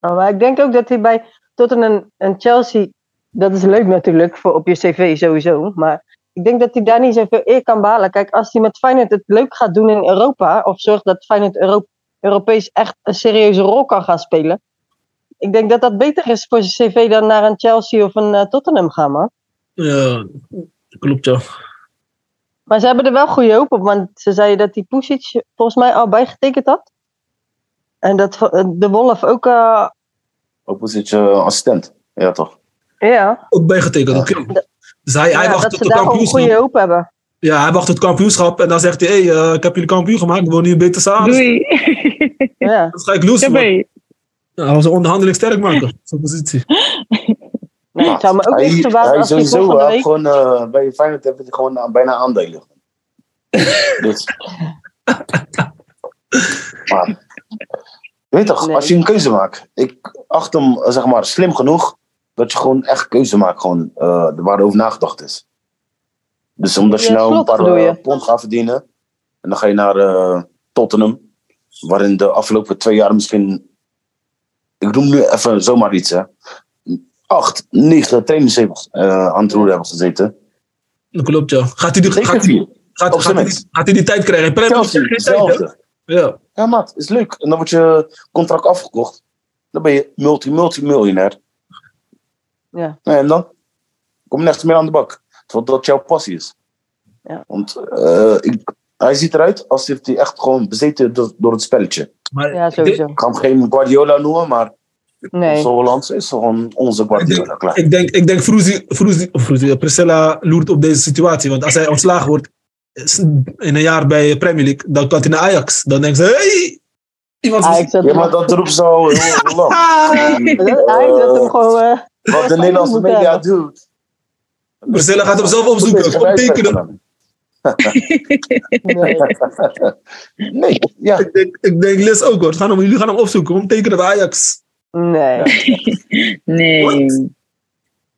Speaker 2: Ja, maar ik denk ook dat hij bij Tottenham en Chelsea, dat is leuk natuurlijk voor op je cv sowieso, maar ik denk dat hij daar niet zoveel eer kan behalen. Kijk, als hij met Feyenoord het leuk gaat doen in Europa, of zorgt dat Feyenoord Euro- Europees echt een serieuze rol kan gaan spelen, ik denk dat dat beter is voor zijn cv dan naar een Chelsea of een eh, Tottenham gaan, man.
Speaker 1: ja, klopt, ja.
Speaker 2: Maar ze hebben er wel goede hoop op, want ze zeiden dat die Pusic volgens mij al bijgetekend had. En dat eh, de Wolf ook, eh,
Speaker 3: Ook al zit je eh, assistent. Ja, toch?
Speaker 2: ja,
Speaker 1: Ook bijgetekend, oké. Dus hij, hij
Speaker 2: ja,
Speaker 1: wacht
Speaker 2: dat
Speaker 1: tot
Speaker 2: ze
Speaker 1: het
Speaker 2: daar ook goede
Speaker 1: kampioenschap.
Speaker 2: hoop
Speaker 1: (laughs)
Speaker 2: hebben.
Speaker 1: Ja, hij wacht tot het kampioenschap en dan zegt hij: hey, eh, ik heb jullie kampioen gemaakt, we wonen hier beter samen. Dus
Speaker 4: Doei.
Speaker 2: Ja,
Speaker 1: Dat ga ik losen. man.
Speaker 4: Daarbij.
Speaker 1: Ja, Hij was een onderhandeling sterk maken. (laughs) Zo'n positie.
Speaker 2: nee, het zou me ook niet verbazen
Speaker 3: hij
Speaker 2: als hij
Speaker 3: sowieso
Speaker 2: volgende
Speaker 3: hij
Speaker 2: week...
Speaker 3: gewoon, eh, bij Feyenoord heeft hij gewoon eh, bijna aandelen. dus. Maar, je weet toch,
Speaker 2: Nee.
Speaker 3: als je een keuze maakt. Ik acht hem, eh, zeg maar, slim genoeg dat je gewoon echt keuze maakt gewoon, eh waarover nagedacht is. Dus omdat je
Speaker 2: Ja,
Speaker 3: nou een
Speaker 2: slot
Speaker 3: paar
Speaker 2: bedoel je?
Speaker 3: eh, pond gaat verdienen en dan ga je naar eh, Tottenham, waarin de afgelopen twee jaar misschien, ik noem nu even zomaar iets, hè, acht, negen trainers heeft, eh, aan het roer hebben gezeten.
Speaker 1: Dat klopt, ja. Gaat hij die,
Speaker 3: Zeker
Speaker 1: gaat,
Speaker 3: vier.
Speaker 1: Gaat,
Speaker 3: Op
Speaker 1: gaat,
Speaker 3: zijn
Speaker 1: hij,
Speaker 3: minst.
Speaker 1: die- gaat hij die tijd krijgen? Premier League
Speaker 3: Chelsea,
Speaker 1: krijgt geen tijd, hè?
Speaker 3: hetzelfde.
Speaker 1: Ja.
Speaker 3: Ja, maat, is leuk. En dan wordt je contract afgekocht. Dan ben je multi-multi-miljonair.
Speaker 2: Ja.
Speaker 3: Nee, en dan kom je nergens meer aan de bak. Terwijl dat jouw passie is.
Speaker 2: Ja.
Speaker 3: Want eh, ik, hij ziet eruit alsof hij echt gewoon bezeten door, door het spelletje.
Speaker 1: Maar
Speaker 2: Ja,
Speaker 1: ik denk-
Speaker 2: sowieso.
Speaker 3: Ik ga hem geen Guardiola noemen, maar
Speaker 2: Nee.
Speaker 3: onze Hollandse is gewoon onze Guardiola.
Speaker 2: (laughs)
Speaker 3: Klaar.
Speaker 1: Ik denk, ik denk Fruzi, Fruzi, of Fruzi, eh, Priscilla loert op deze situatie. Want als hij ontslagen wordt is- in een jaar bij Premier League, dan kan hij naar Ajax. Dan denkt ze, hey, iemand is...
Speaker 2: Ajax had
Speaker 3: Ja,
Speaker 2: hem,
Speaker 3: maar dat roept zo heel
Speaker 2: (laughs)
Speaker 3: heel lang.
Speaker 1: Ah,
Speaker 2: Ajax had hem
Speaker 3: Eh,
Speaker 2: gewoon... eh,
Speaker 3: wat de Nederlandse media doet.
Speaker 1: Priscilla gaat hem zelf
Speaker 3: Moet
Speaker 1: opzoeken,
Speaker 3: je
Speaker 1: kom
Speaker 3: gelijk
Speaker 1: tekenen.
Speaker 3: zeggen dan. (laughs) Nee, ja.
Speaker 1: Ik denk, ik denk Liz ook hoor, Ze gaan hem, jullie gaan hem opzoeken, kom tekenen bij Ajax.
Speaker 2: nee.
Speaker 4: Nee.
Speaker 1: Wat?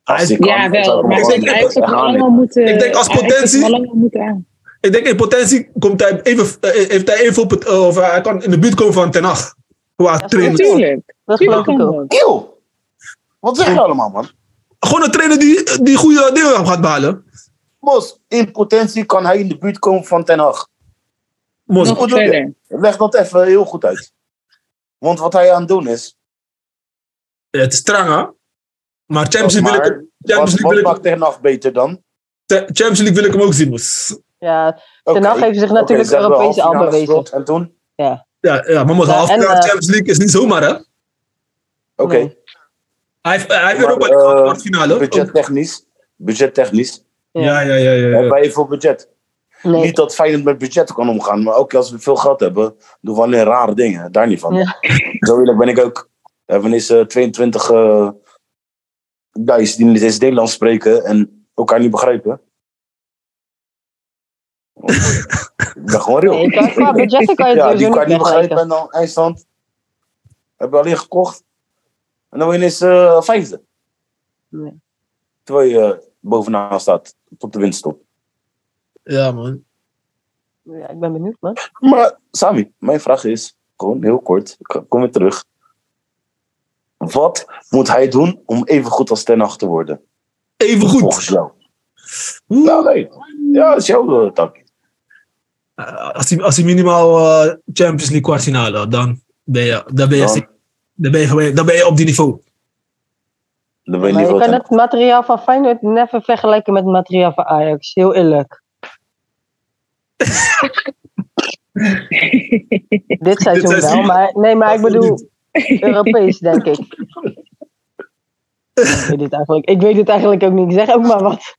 Speaker 3: Als die kan,
Speaker 4: Ja,
Speaker 3: dan zou
Speaker 4: wel.
Speaker 1: gewoon
Speaker 3: ik hem
Speaker 4: Maar ik denk
Speaker 3: gewoon
Speaker 4: eigenlijk
Speaker 3: echt
Speaker 4: dat we
Speaker 3: aannemen.
Speaker 4: allemaal moeten...
Speaker 1: Ik denk als
Speaker 4: eigenlijk dat we
Speaker 1: potentie-
Speaker 4: allemaal moeten aan.
Speaker 1: Ik denk in potentie komt hij even, eh, heeft hij even op het, eh, of hij kan in de buurt komen van Ten Hag. Qua trainer.
Speaker 4: Natuurlijk.
Speaker 2: Dat
Speaker 4: Tuurlijk
Speaker 2: geloof
Speaker 4: kan
Speaker 2: ik ook.
Speaker 4: dat.
Speaker 3: Eeuw! Wat zeg je allemaal, man?
Speaker 1: Gewoon een trainer die, die goede dingen gaat behalen.
Speaker 3: Mos, in potentie kan hij in de buurt komen van Ten Hag.
Speaker 1: Mos.
Speaker 4: Nog verder.
Speaker 3: Leg dat even heel goed uit. Want wat hij aan het doen is...
Speaker 1: Ja, het is strang, hè? Maar Champions League, wil, ik,
Speaker 3: maar,
Speaker 1: Champions League
Speaker 3: wat, wat
Speaker 1: wil ik-
Speaker 3: maakt Ten Hag beter dan?
Speaker 1: Te- Champions League wil ik hem ook zien, dus. moes.
Speaker 2: Ja,
Speaker 3: Oké,
Speaker 2: Ten Hag heeft zich
Speaker 3: oké,
Speaker 2: natuurlijk
Speaker 3: ze hebben
Speaker 2: Europese al
Speaker 3: halffinale
Speaker 2: bewezen.
Speaker 3: gespeeld En toen?
Speaker 1: Ja, ja maar moes,
Speaker 2: Ja,
Speaker 1: half
Speaker 2: en,
Speaker 1: jaar
Speaker 2: eh,
Speaker 1: Champions League is niet zomaar, hè?
Speaker 3: Oké,
Speaker 2: Nee.
Speaker 1: Hij heeft, hij heeft
Speaker 3: Maar,
Speaker 1: Europa League
Speaker 3: eh,
Speaker 1: gehad, kwartfinale. Ook-
Speaker 3: budgettechnisch. Budgettechnisch.
Speaker 1: Ja, ja, ja. ja, ja.
Speaker 3: Hebben wij veel budget?
Speaker 2: Nee.
Speaker 3: Niet dat Feyenoord met budget kan omgaan, maar ook als we veel geld hebben, doen we alleen rare dingen. Daar niet van.
Speaker 2: Ja.
Speaker 3: Zo eerlijk ben ik ook. We hebben eens eh, 22 eh, guys die niet eens Nederlands spreken en elkaar niet begrijpen. ik ben gewoon real.
Speaker 2: Nee, qua- Qua budgetten kan je het
Speaker 3: Ja, die
Speaker 2: sowieso
Speaker 3: elkaar
Speaker 2: niet
Speaker 3: niet begrijpen
Speaker 2: wegwerken.
Speaker 3: en dan eindstand hebben we alleen gekocht. En dan word je ineens eh, vijfde.
Speaker 2: Nee.
Speaker 3: Terwijl je eh, bovenaan staat, op de winst op.
Speaker 1: Ja, man.
Speaker 2: Ja, ik ben benieuwd, man.
Speaker 3: Maar Sami, mijn vraag is, gewoon heel kort, ik kom weer terug. Wat moet hij doen om even goed als Ten Hag te worden?
Speaker 1: Even
Speaker 3: Volgens
Speaker 1: goed.
Speaker 3: jou.
Speaker 1: Oeh.
Speaker 3: Nou, nee. Ja, dat is jouw eh, tak.
Speaker 1: Eh, Als hij, als hij minimaal eh, Champions League kwartfinale had, dan ben je, dan ben je,
Speaker 3: Dan,
Speaker 1: dan ben je, gewoon- dan ben je op die niveau.
Speaker 3: dan ben
Speaker 2: Maar
Speaker 3: je niet
Speaker 2: je
Speaker 3: veel
Speaker 2: kan
Speaker 3: Ten Hag.
Speaker 2: het materiaal van Feyenoord never vergelijken met het materiaal van Ajax. Heel eerlijk. Dit seizoen
Speaker 1: seizoen.
Speaker 2: wel, maar... Nee, maar (laughs) ik
Speaker 1: Absoluut.
Speaker 2: bedoel Europees, denk ik. Ik weet het eigenlijk, ik weet het eigenlijk ook niet. Ik zeg ook maar wat.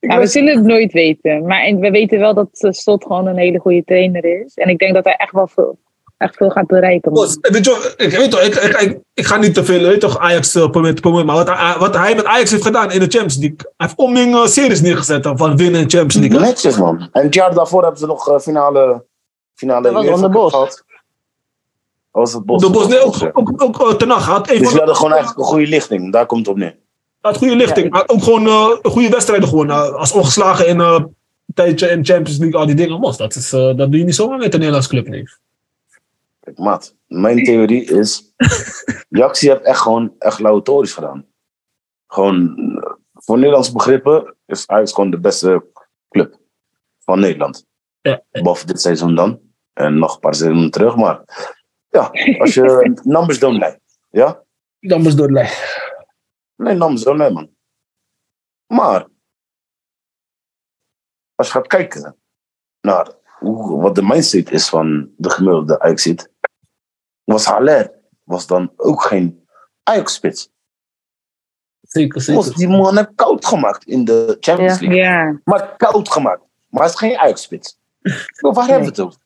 Speaker 4: Ja, we zullen het nooit weten. Maar en we weten wel dat eh, Slot gewoon een hele goede trainer is. En ik denk dat hij echt wel veel, echt veel gaat bereiken. man.
Speaker 1: Mos, eh, weet je, wel, ik, weet toch, ik, ik, ik, ik ga niet te veel, weet toch, Ajax eh, promoten, promoten, maar wat, hij- wat hij met Ajax heeft gedaan in de Champions League. Hij heeft Omning eh, series neergezet eh, van winnen in Champions League. hè.
Speaker 3: Netjes, man. En het jaar daarvoor hebben ze nog eh, finale... finale
Speaker 2: Dat was
Speaker 3: UEFA
Speaker 2: onder
Speaker 3: Cup
Speaker 2: Bos.
Speaker 3: gehad. Dat was het Bos.
Speaker 1: De Bos, nee, ook,
Speaker 3: Ja.
Speaker 1: ook, ook, ook eh, Ten Hag had een
Speaker 3: Dus
Speaker 1: van
Speaker 3: we
Speaker 1: de
Speaker 3: hadden gewoon eigenlijk een goede lichting. Daar komt het op neer.
Speaker 1: had goede lichting.
Speaker 2: Ja, ik-
Speaker 1: maar ook gewoon eh, goede wedstrijden gewonnen. Eh, als ongeslagen in eh, tijdje in Champions League, al die dingen. Mos, dat, is, eh, dat doe je niet zomaar met een Nederlands club, nee.
Speaker 3: Kijk, maat. Mijn theorie is...
Speaker 1: (laughs)
Speaker 3: Jaxi heeft echt gewoon echt lauwe torens gedaan. Gewoon... eh, Voor Nederlandse begrippen is Ajax gewoon de beste club van Nederland.
Speaker 1: Ja.
Speaker 3: Behalve dit seizoen dan. En nog een paar seizoenen terug, maar... Ja,
Speaker 1: (laughs)
Speaker 3: als je numbers don't lie. Ja?
Speaker 1: Dan moest door de lijn.
Speaker 3: Nee, numbers don't lie, man. Maar... Als je gaat kijken naar hoe, wat de mindset is van de gemiddelde Ajax-zit... Was Haller was dan ook geen Ajax-spits.
Speaker 1: Zeker, zeker.
Speaker 3: Mos, die man heeft koud gemaakt in de Champions
Speaker 2: Ja.
Speaker 3: League.
Speaker 4: Ja,
Speaker 3: Maar koud gemaakt. Maar hij is geen uitspits. Maar waar hebben we het over?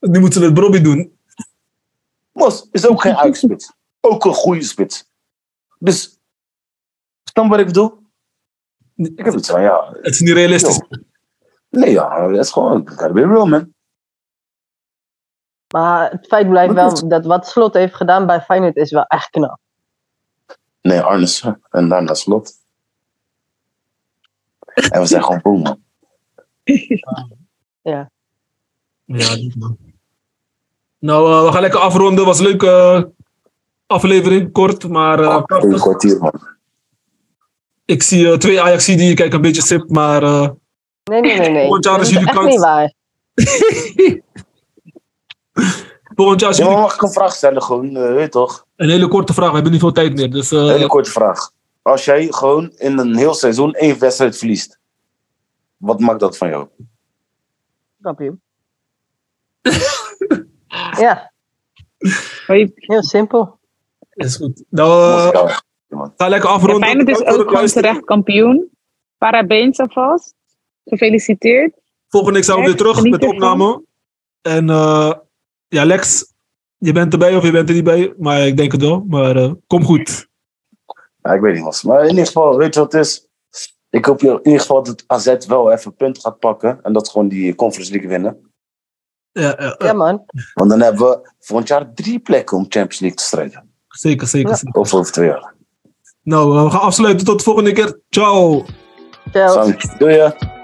Speaker 1: Nu moeten we het Bobby doen.
Speaker 3: Mos is ook geen uitspits. Ook een goede spits. Dus, snap je wat ik bedoel? Ik heb iets van, ja.
Speaker 1: Het is niet realistisch.
Speaker 3: Nee, ja, dat is gewoon, gotta be real, man.
Speaker 2: Maar het feit blijft wel dat wat Slot heeft gedaan bij Feyenoord is wel echt knap.
Speaker 3: Nee, Arnes. En daarna slot. En we zijn gewoon boem, man.
Speaker 1: Ja, niet man. Nou, eh, we gaan lekker afronden. Was een leuke eh, aflevering, kort, maar eh,
Speaker 3: Een
Speaker 1: krachtig.
Speaker 3: kwartier, man.
Speaker 1: Ik zie eh, twee ajax die kijken een beetje sip, maar eh,
Speaker 2: (laughs) Nee, nee, nee, nee.
Speaker 1: Volgend jaar
Speaker 2: Dat
Speaker 1: is
Speaker 2: is
Speaker 1: jullie
Speaker 2: echt
Speaker 1: kans.
Speaker 2: niet waar.
Speaker 1: Volgend jaar is
Speaker 3: Ja, maar
Speaker 1: jullie-
Speaker 3: mag ik een vraag stellen gewoon, eh, weet je toch?
Speaker 1: een hele korte vraag. We hebben niet veel tijd meer. Dus eh,
Speaker 3: Een hele korte vraag. Als jij gewoon in een heel seizoen één wedstrijd verliest, wat maakt dat van jou?
Speaker 2: (laughs) Kampioen. ja,
Speaker 4: Hoi.
Speaker 2: heel simpel.
Speaker 1: is goed. Nou, eh,
Speaker 3: Moskou.
Speaker 1: ga lekker
Speaker 4: Ja,
Speaker 1: afronden.
Speaker 4: Feyenoord is
Speaker 1: Dank voor
Speaker 4: ook
Speaker 1: het
Speaker 4: gewoon
Speaker 1: luisteren.
Speaker 4: terecht kampioen. Parabéns alvast. Gefeliciteerd.
Speaker 1: Volgende week zijn we weer
Speaker 4: Echt,
Speaker 1: terug
Speaker 4: geniet
Speaker 1: met de
Speaker 4: ervan.
Speaker 1: opname. En eh, ja, Lex, je bent erbij of je bent er niet bij. Maar ik denk het wel. Maar eh, kom goed.
Speaker 3: Ja, ik weet niet wat. Maar in ieder geval, weet je wat het is? Ik hoop in ieder geval dat AZ wel even een punt gaat pakken. En dat ze gewoon die Conference League winnen.
Speaker 1: Ja, ja, ja.
Speaker 2: Ja man,
Speaker 3: Want dan hebben we volgend jaar drie plekken om Champions League te strijden.
Speaker 1: Zeker, zeker.
Speaker 2: Ja.
Speaker 1: zeker.
Speaker 3: Of over twee jaar.
Speaker 1: Nou, eh, we gaan afsluiten. Tot de volgende keer. Ciao.
Speaker 2: Chelsea.
Speaker 3: Samen. Doei. hè.